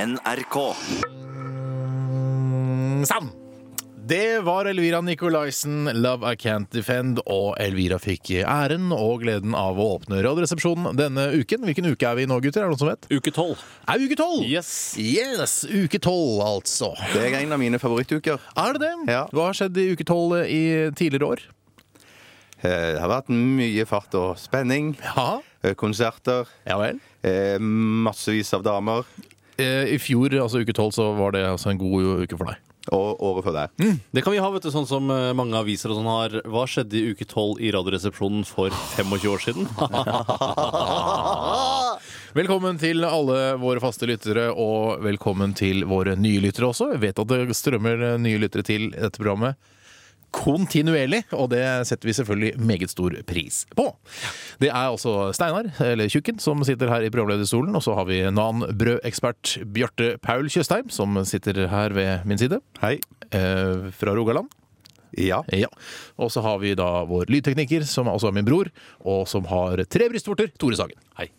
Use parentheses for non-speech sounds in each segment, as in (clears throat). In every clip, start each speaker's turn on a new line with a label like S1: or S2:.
S1: NRK.
S2: Sann! Det var Elvira Nicolaisen, 'Love I Can't Defend', og Elvira fikk æren og gleden av å åpne Radioresepsjonen denne uken. Hvilken uke er vi i nå, gutter? Er det noen som vet?
S3: Uke tolv.
S2: Er uke tolv!
S3: Yes.
S2: yes! Uke tolv, altså.
S1: Det er en av mine favorittuker.
S2: Er det det?
S1: Ja.
S2: Hva har skjedd i uke tolv i tidligere år?
S1: Eh, Det har vært mye fart og spenning.
S2: Ja,
S1: eh, Konserter.
S2: ja vel.
S1: eh, Massevis av damer.
S2: Eh, I fjor, altså uke tolv, så var det altså en god uke for deg.
S1: Og året før der.
S3: Det kan vi ha, vet du, sånn som eh, mange aviser og sånn har. Hva skjedde i uke 12 i Radioresepsjonen for 25 år siden? (laughs)
S2: Velkommen til alle våre faste lyttere, og velkommen til våre nye lyttere også. Jeg vet at det strømmer eh, nye lyttere til dette programmet kontinuerlig, og det setter vi selvfølgelig meget stor pris på. Det er altså Steinar, eller Tjukken, som sitter her i programlederstolen, og så har vi nan-brødekspert Bjarte Paul Tjøstheim, som sitter her ved min side,
S1: Hei.
S2: eh, fra Rogaland.
S1: Ja.
S2: Ja. Og så har vi da vår lydtekniker, som også er min bror, og som har tre brystvorter, Tore Sagen.
S3: Hei.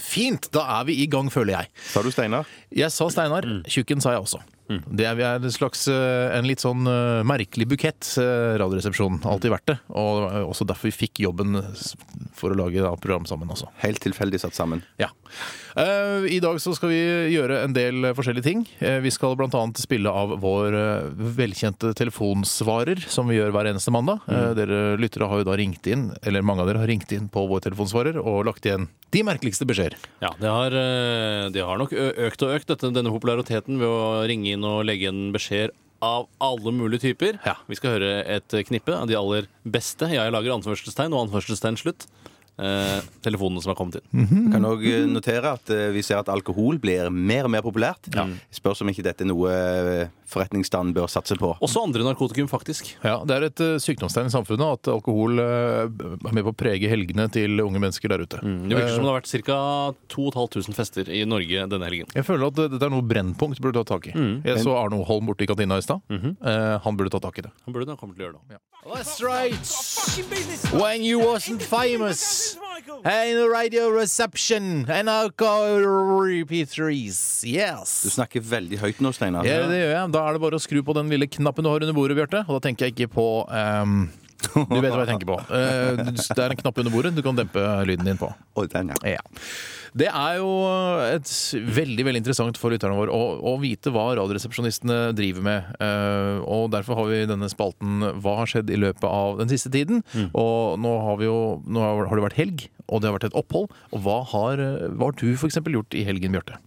S2: Fint! Da er vi i gang, føler jeg.
S1: Sa du Steinar?
S2: Jeg sa Steinar. Tjukken sa jeg også. Det er, vi er en slags eh, en litt sånn eh, merkelig bukett, eh, Radioresepsjonen. Alltid vært det. Og det var også derfor vi fikk jobben s- for å lage da, program sammen også.
S1: Helt tilfeldig satt sammen.
S2: Ja. Eh, I dag så skal vi gjøre en del eh, forskjellige ting. Eh, vi skal bl.a. spille av vår eh, velkjente telefonsvarer, som vi gjør hver eneste mandag. Eh, dere lyttere har jo da ringt inn, eller mange av dere har ringt inn på vår telefonsvarer og lagt igjen de merkeligste beskjeder.
S3: Ja, det har, eh, det har nok ø- økt og økt, dette, denne populariteten, ved å ringe inn og legge inn beskjeder av alle mulige typer.
S2: Ja.
S3: Vi skal høre et knippe av de aller beste. Jeg lager anførselstegn og anførselstegn slutt. Eh, telefonene som har kommet inn.
S1: Vi kan òg notere at eh, vi ser at alkohol blir mer og mer populært. Spørs om ikke dette er noe eh, forretningsstanden bør satse på.
S3: Også andre narkotikum, faktisk.
S2: Ja, Det er et eh, sykdomstegn i samfunnet at alkohol eh, er med på å prege helgene til unge mennesker der ute.
S3: Det virker som det har vært ca. 2500 fester i Norge denne helgen.
S2: Jeg føler at eh, dette er noe Brennpunkt burde ta tak i. Jeg så Arno Holm borte i kantina i stad. Eh, Han burde ta tak i det.
S3: Han burde da komme til å gjøre det.
S2: That's right. When you wasn't famous. Hey, the radio reception. NRK repeateries.
S1: Du
S2: Yes.
S1: snakker veldig høyt nå, Steinar.
S2: Ja, det gjør jeg. Da er det bare å skru på den lille knappen du har under bordet, Bjarte. Og da tenker jeg ikke på ehm, Du vet hva jeg tenker på. Eh, det er en knapp under bordet du kan dempe lyden din på.
S1: Å, den, ja.
S2: Ja. Det er jo et veldig veldig interessant for lytterne våre å, å vite hva radioresepsjonistene driver med. Eh, og Derfor har vi denne spalten Hva har skjedd i løpet av den siste tiden?
S1: Mm.
S2: Og nå har, vi jo, nå har har det vært helg, og det har vært et opphold. Og Hva har, hva har du f.eks. gjort i helgen, Bjarte?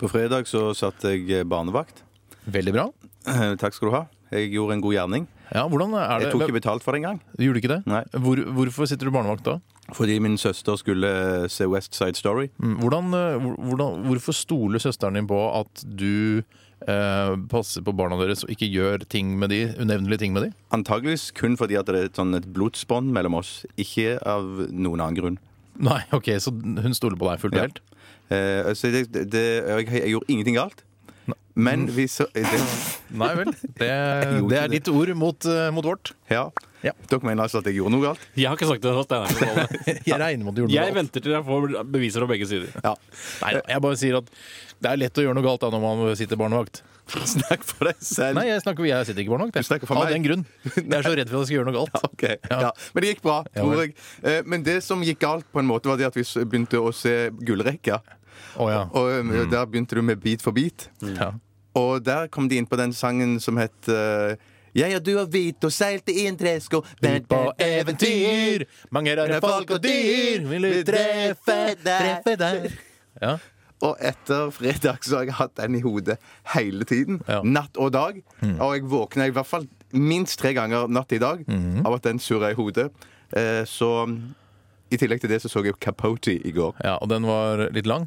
S1: På fredag så satt jeg eh, barnevakt. (clears throat)
S2: Veldig bra.
S1: Eh, Takk skal du ha. Jeg gjorde en god gjerning.
S2: Ja, hvordan er det?
S1: Jeg tok ikke betalt for det engang.
S2: Gjorde du ikke det?
S1: Nei.
S2: Hvor, hvorfor sitter du barnevakt da?
S1: Fordi min søster skulle se West Side Story.
S2: Mm, Hvordan, eh, hvor- hvordan, hvorfor stoler søsteren din på at du eh, passer på barna deres og ikke gjør ting med de, unevnelige ting med de?
S1: Antageligvis kun fordi at det er et, sånn, et blodsbånd mellom oss. Ikke av noen annen grunn.
S2: Nei, ok, så hun stoler på deg fullt og
S1: Ja.
S2: helt?
S1: Eh, så det, det, jeg, jeg gjorde ingenting galt. Men vi så det,
S2: Nei vel. (laughs) Det,
S1: gjorde
S2: det
S1: ikke
S2: er ditt ord mot, eh, mot vårt.
S1: ja.
S2: Ja.
S1: Dere mener altså at jeg gjorde noe galt?
S3: Jeg har ikke sagt det. Steinar.
S2: (laughs)
S3: (laughs)
S2: Jeg regner med at du gjorde noe
S3: Jeg
S2: galt.
S3: venter til jeg får beviser fra begge sider.
S1: Ja.
S2: Nei, jeg bare sier at det er lett å gjøre noe galt da når man sitter barnevakt.
S1: (laughs) Snakk for deg selv.
S2: Nei, jeg, snakker, jeg sitter ikke barnevakt. jeg.
S1: Du snakker for
S2: Av
S1: meg.
S2: den (laughs) grunn. Jeg er så redd for at jeg skal gjøre noe galt.
S1: Ok, ja. Men det gikk bra,
S2: Ja,
S1: tror
S2: vel.
S1: jeg. Eh, men det som gikk galt, på en måte var det at vi s- begynte å se gullrekka.
S2: Å ja. Mm.
S1: Og eh, der begynte du med Beat for beat.
S2: ja.
S1: Og der kom de inn på den sangen som het eh, Jeg og du og hvit og seilte i en tresko.
S2: Ut på eventyr, mange rare folk og dyr, vil du treffe deg? Treffe deg. Ja.
S1: Og etter fredag så har jeg hatt den i hodet hele tiden.
S2: Ja.
S1: Natt og dag. Og jeg våkna i hvert fall minst tre ganger natt i dag av at den surra i hodet. Eh, så i tillegg til det så så jeg Capote i går.
S2: ja, og den var litt lang.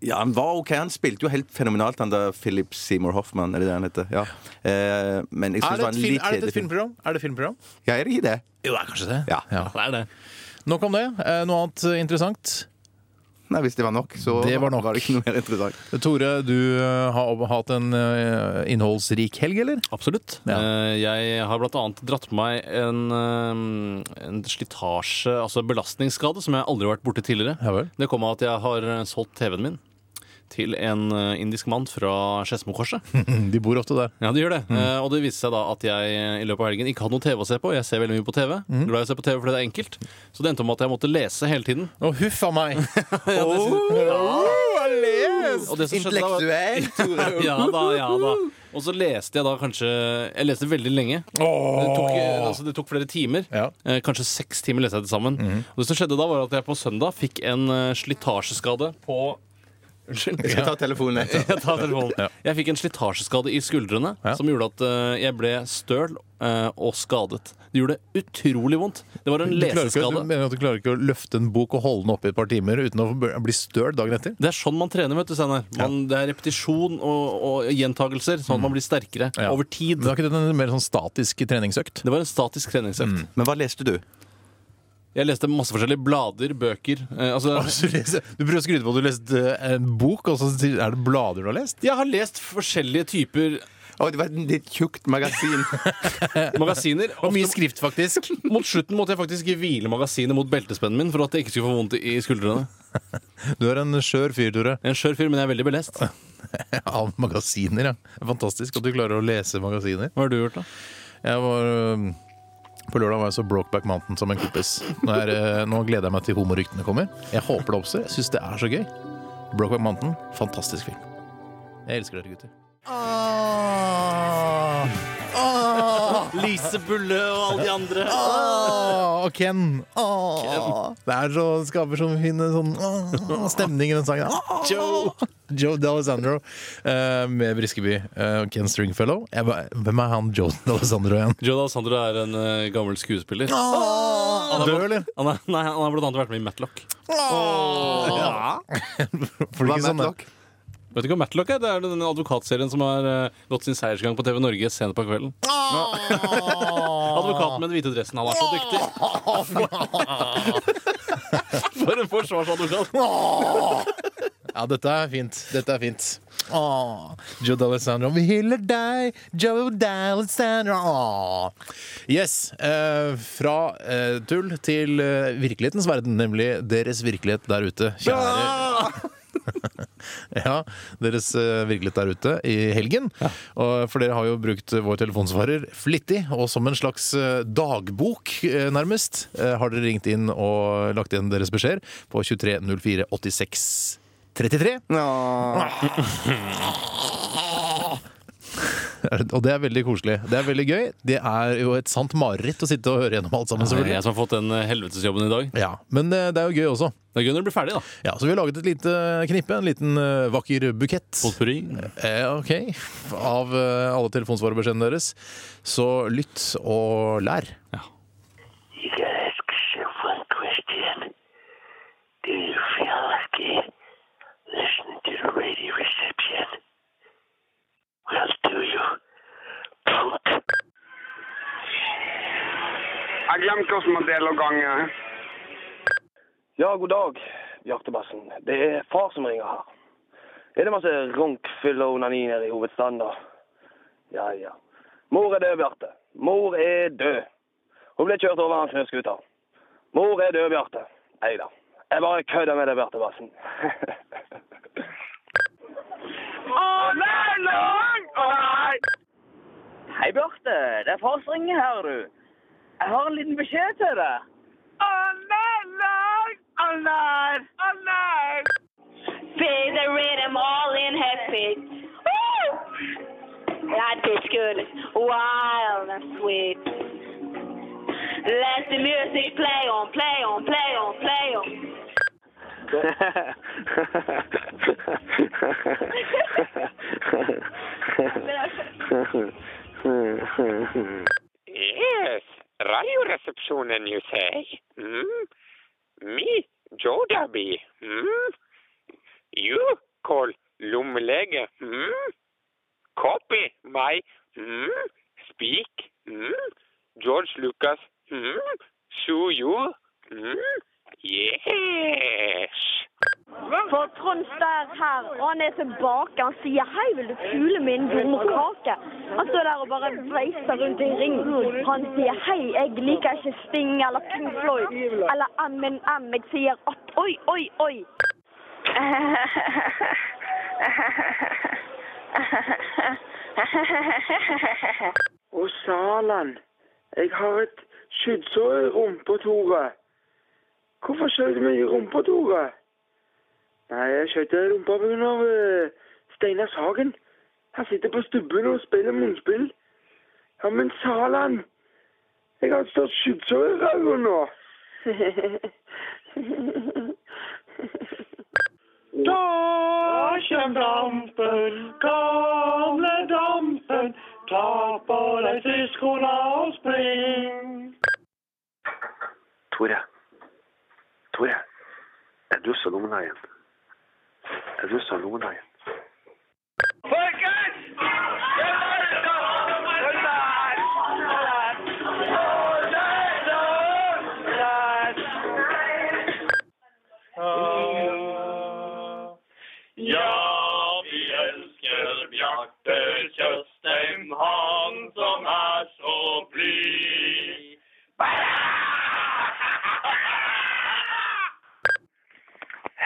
S1: Ja, Han var ok, han spilte jo helt fenomenalt, han der Philip Seymour Hoffman. Er det det han heter? Ja. Eh, men jeg synes det var en litt kjedelig film.
S2: filmprogram? Er det et filmprogram?
S1: Ja, er det ikke det?
S2: Jo, det er kanskje det.
S1: Ja.
S3: Det er det.
S2: Nok om det. Eh, Noe annet eh, interessant?
S1: Nei, Hvis det var nok, så
S2: Det var nok.
S1: det ikke noe mer interessant.
S2: Tore, du eh, har opp- hatt en eh, innholdsrik helg,
S1: (laughs)
S2: eller?
S3: Absolutt.
S2: Ja.
S3: Eh, Jeg har blant annet dratt på meg en, eh, en slitasje, altså belastningsskade, som jeg aldri har vært borti tidligere.
S2: Ja vel.
S3: Det kom av at jeg har solgt TV-en min til en eh, indisk mann fra Skedsmokorset.
S2: De bor ofte der.
S3: (laughs) Ja, det gjør det. Eh, og det viste seg da at jeg eh, i løpet av helgen ikke hadde noe TV å se på. Jeg ser veldig mye på TV. Glad i å se på TV fordi det er enkelt. Så det endte om at jeg måtte lese hele tiden.
S2: Å, huff a
S1: (laughs)
S2: meg!
S3: Og det som skjedde da var- (laughs) Ja da, ja da. Og så leste jeg da kanskje Jeg leste veldig lenge. Det tok, eh, altså, det tok flere timer.
S2: Ja. Mhm.
S3: Eh, kanskje seks timer leste jeg til sammen. Og det som skjedde da, var at jeg på søndag fikk en eh, slitasjeskade på (laughs) Unnskyld.
S1: Jeg skal ta telefonen etter.
S3: Jeg tar telefonen. Jeg fikk en slitasjeskade i skuldrene
S2: Ja.
S3: som gjorde at eh, jeg ble støl eh, og skadet. Det gjorde utrolig vondt. Det var en
S2: Du, klarer ikke, du
S3: leseskade.
S2: mener at du klarer ikke å løfte en bok og holde den oppe i et par timer uten å bli støl dagen etter?
S3: Det er sånn man trener, vet du, Steinar. Man- Det er repetisjon og, og gjentagelser, sånn at man blir sterkere
S2: Mhm. Ja.
S3: over tid.
S2: Men det er ikke det en mer sånn statisk treningsøkt?
S3: Det var en statisk
S2: Mhm.
S3: treningsøkt.
S1: Men hva leste du?
S3: Jeg leste masse forskjellige blader, bøker eh, altså,
S2: Du, leser, du prøver å skryte på at du leste eh, en bok, og så sier- er det blader du har lest?
S3: Jeg har lest forskjellige typer
S1: Å, det var et litt tjukt magasin.
S3: magasiner.
S2: Og mye skrift, faktisk.
S3: (laughs) Mot slutten måtte jeg faktisk hvile magasinet mot beltespennen min for at jeg ikke skulle få vondt i i skuldrene.
S2: Du er en skjør fyr, Tore.
S3: Jeg er en skjør fyr, men jeg er veldig belest.
S2: Av magasiner, ja. Det er Fantastisk at du klarer å lese magasiner.
S3: Hva har du gjort, da?
S2: Jeg var øhm, På lørdag var jeg så Brokeback Mountain som en kompis. Nå, er, øh, nå gleder jeg meg til homoryktene kommer. Jeg håper det oppstår. Jeg syns det er så gøy. Brokeback Mountain, fantastisk film. Jeg elsker dere, gutter.
S3: Lise Bulle og alle de andre.
S2: Åh, og Ken. Åh. Det er så, skaper så fin sånn, åh, stemning i den sangen. Åh.
S3: Joe.
S2: Joe D'Alessandro eh, med Briskeby. eh, Ken Stringfellow. Jeg, bare, hvem er han Joe D'Alessandro igjen?
S3: Joe D'Alessandro er en eh, gammel skuespiller.
S2: Åh, Død, eller?
S3: Han har, nei, han har blant annet vært med i Matlock.
S2: Får du
S1: Hva
S2: ikke
S1: er
S2: sånn,
S1: Matlock?
S3: Vet du ikke hva Matlock er? Det er den advokatserien som har eh, gått sin seiersgang på TV Norge sent på kvelden. (laughs) Advokaten med den hvite dressen. Han er så dyktig. (laughs) For en forsvarsadvokat.
S2: Ja, dette er fint. Dette er fint. Åh, Joe D'Alessandro, vi hyller deg, Joe D'Alessandro. Åh. Yes. Eh, fra eh, tull til eh, virkelighetens verden, nemlig deres virkelighet der ute. Kjære. (laughs) ja, deres eh, virkelighet der ute i helgen. Og, for dere har jo brukt eh, vår telefonsvarer flittig, og som en slags eh, dagbok, eh, nærmest, eh, har dere ringt inn og lagt igjen deres beskjeder på 230486. 33.
S1: Nå.
S2: Og det er veldig koselig. Det er veldig gøy. Det er jo et sant mareritt å sitte og høre gjennom alt sammen,
S3: Det er jeg
S2: selvfølgelig.
S3: som har fått den eh, helvetesjobben i dag.
S2: Ja, Men eh, det er jo gøy også.
S3: Det er gøy når du blir ferdig, da.
S2: Ja, Så vi har laget et lite knippe, en liten eh, vakker bukett.
S3: Potpourri.
S2: Eh, ok. Av eh, alle telefonsvarebeskjedene deres. Så lytt og lær.
S3: Ja.
S4: You gotta ask yourself one question. Do you feel lucky listening to the radio reception? Well, do you? Punk.
S5: Jeg har glemt hvordan man deler gange.
S6: Ja, god dag, Bjartebassen. Det er far som ringer her. Er det masse ronk, fyll og onani nede i hovedstaden, da? Ja, ja. Mor er død, Bjarte. Mor er død. Hun ble kjørt over av en snøskuter. Mor er død, Bjarte. Nei da. Jeg bare kødder med deg, (laughs) Bjartebassen.
S5: Å nei, lang! Å nei!
S7: Hei, Bjarte. Det er far som ringer her, du. Jeg har en liten beskjed til deg.
S5: Å nei, lang! Å nei! Å nei!
S8: Play the rhythm all in happy. Woo! Life is good, wild and sweet. Let the music play on, play on, play on, play on.
S7: (laughs)
S9: Yes, radio reception, you say? Hmm? Me, Joe Dabby. Hmm? You call Lumlege. Hmm? Copy my hmm? speak. Hmm? George Lucas. Hmm? Sue you. Hmm? Yes.
S8: For Trond står her, og han er tilbake. Han sier 'hei, vil du pule min jordmorkake'? Han står der og bare veiser rundt i ring. Han sier 'hei, jeg liker ikke Sting eller Pink Floyd eller M&M'. Jeg sier at oi, oi, oi.
S10: Å, Salan. Jeg har et skyddsår i rumpa, Tore. Hvorfor skjøt du meg i rumpa, Tore? Nei, jeg skjøt deg i rumpa pga. Uh, Steinar Sagen. Han sitter på stubben og spiller munnspill. Ja, men Salan. Jeg har et stort skyddsår i ræva nå.
S11: Da kjem dampen, gamle dampen. Ta på deg syskorna og spring.
S12: Tore. Tore. Er du salonghaien? Er du salonghaien?
S11: Folkens! Ja, vi elsker Bjarte Tjøstheim, han som er så blid.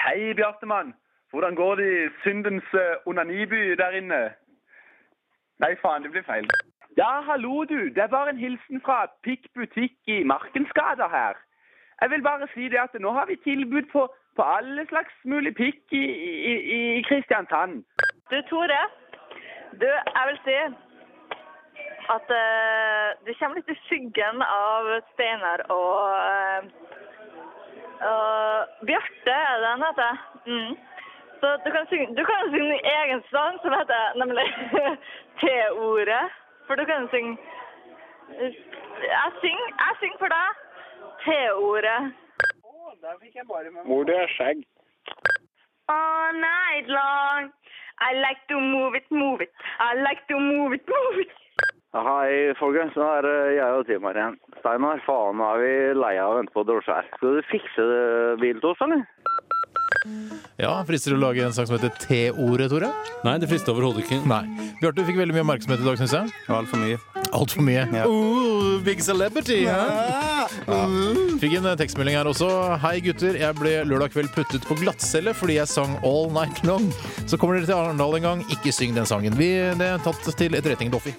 S13: Hei, Bjartemann. Hvordan går det i syndens
S14: äh,
S13: eh, onaniby der inne? Nei, faen, det blir feil.
S14: Ja, hallo du. Det er bare en hilsen fra Pikk butikk i Markensgata her. Jeg vil bare si det at nå har vi tilbud på, på alle slags mulig pikk i, i, i Kristiansand.
S8: Du, Tore. Du, jeg vil si at eh, du kommer litt i skyggen av Steinar og eh, og Bjarte, er det han heter? Mm. Så du kan synge, du kan synge din egen sang, som heter nemlig (laughs) T-ordet. For du kan synge Jeg synger, jeg synger for deg T-ordet.
S10: Der fikk jeg bare med
S15: Hvor det er skjegg.
S16: all night long. I like to move it, move it. I like to move it, move it.
S17: Hei, folkens. Nå er det jeg og Timar igjen. Steinar, faen, nå er vi lei av å vente på drosje her. Skal du fikse det bilen til oss, eller?
S2: Ja, Frister det å lage en sang som heter T-ordet, Tore? Nei, det frister overhodet ikke. Nei. Bjarte, du fikk veldig mye oppmerksomhet i dag, syns jeg. Altfor mye. Alt for mye. Ooh, Oh, big celebrity! hæ? Ja. Fikk en eh, tekstmelding her også. Hei, gutter. Jeg ble lørdag kveld puttet på glattcelle fordi jeg sang All Night Long. Så kommer dere til Arendal en gang. Ikke syng den sangen. Vi, det er tatt til etterretning, Doffy.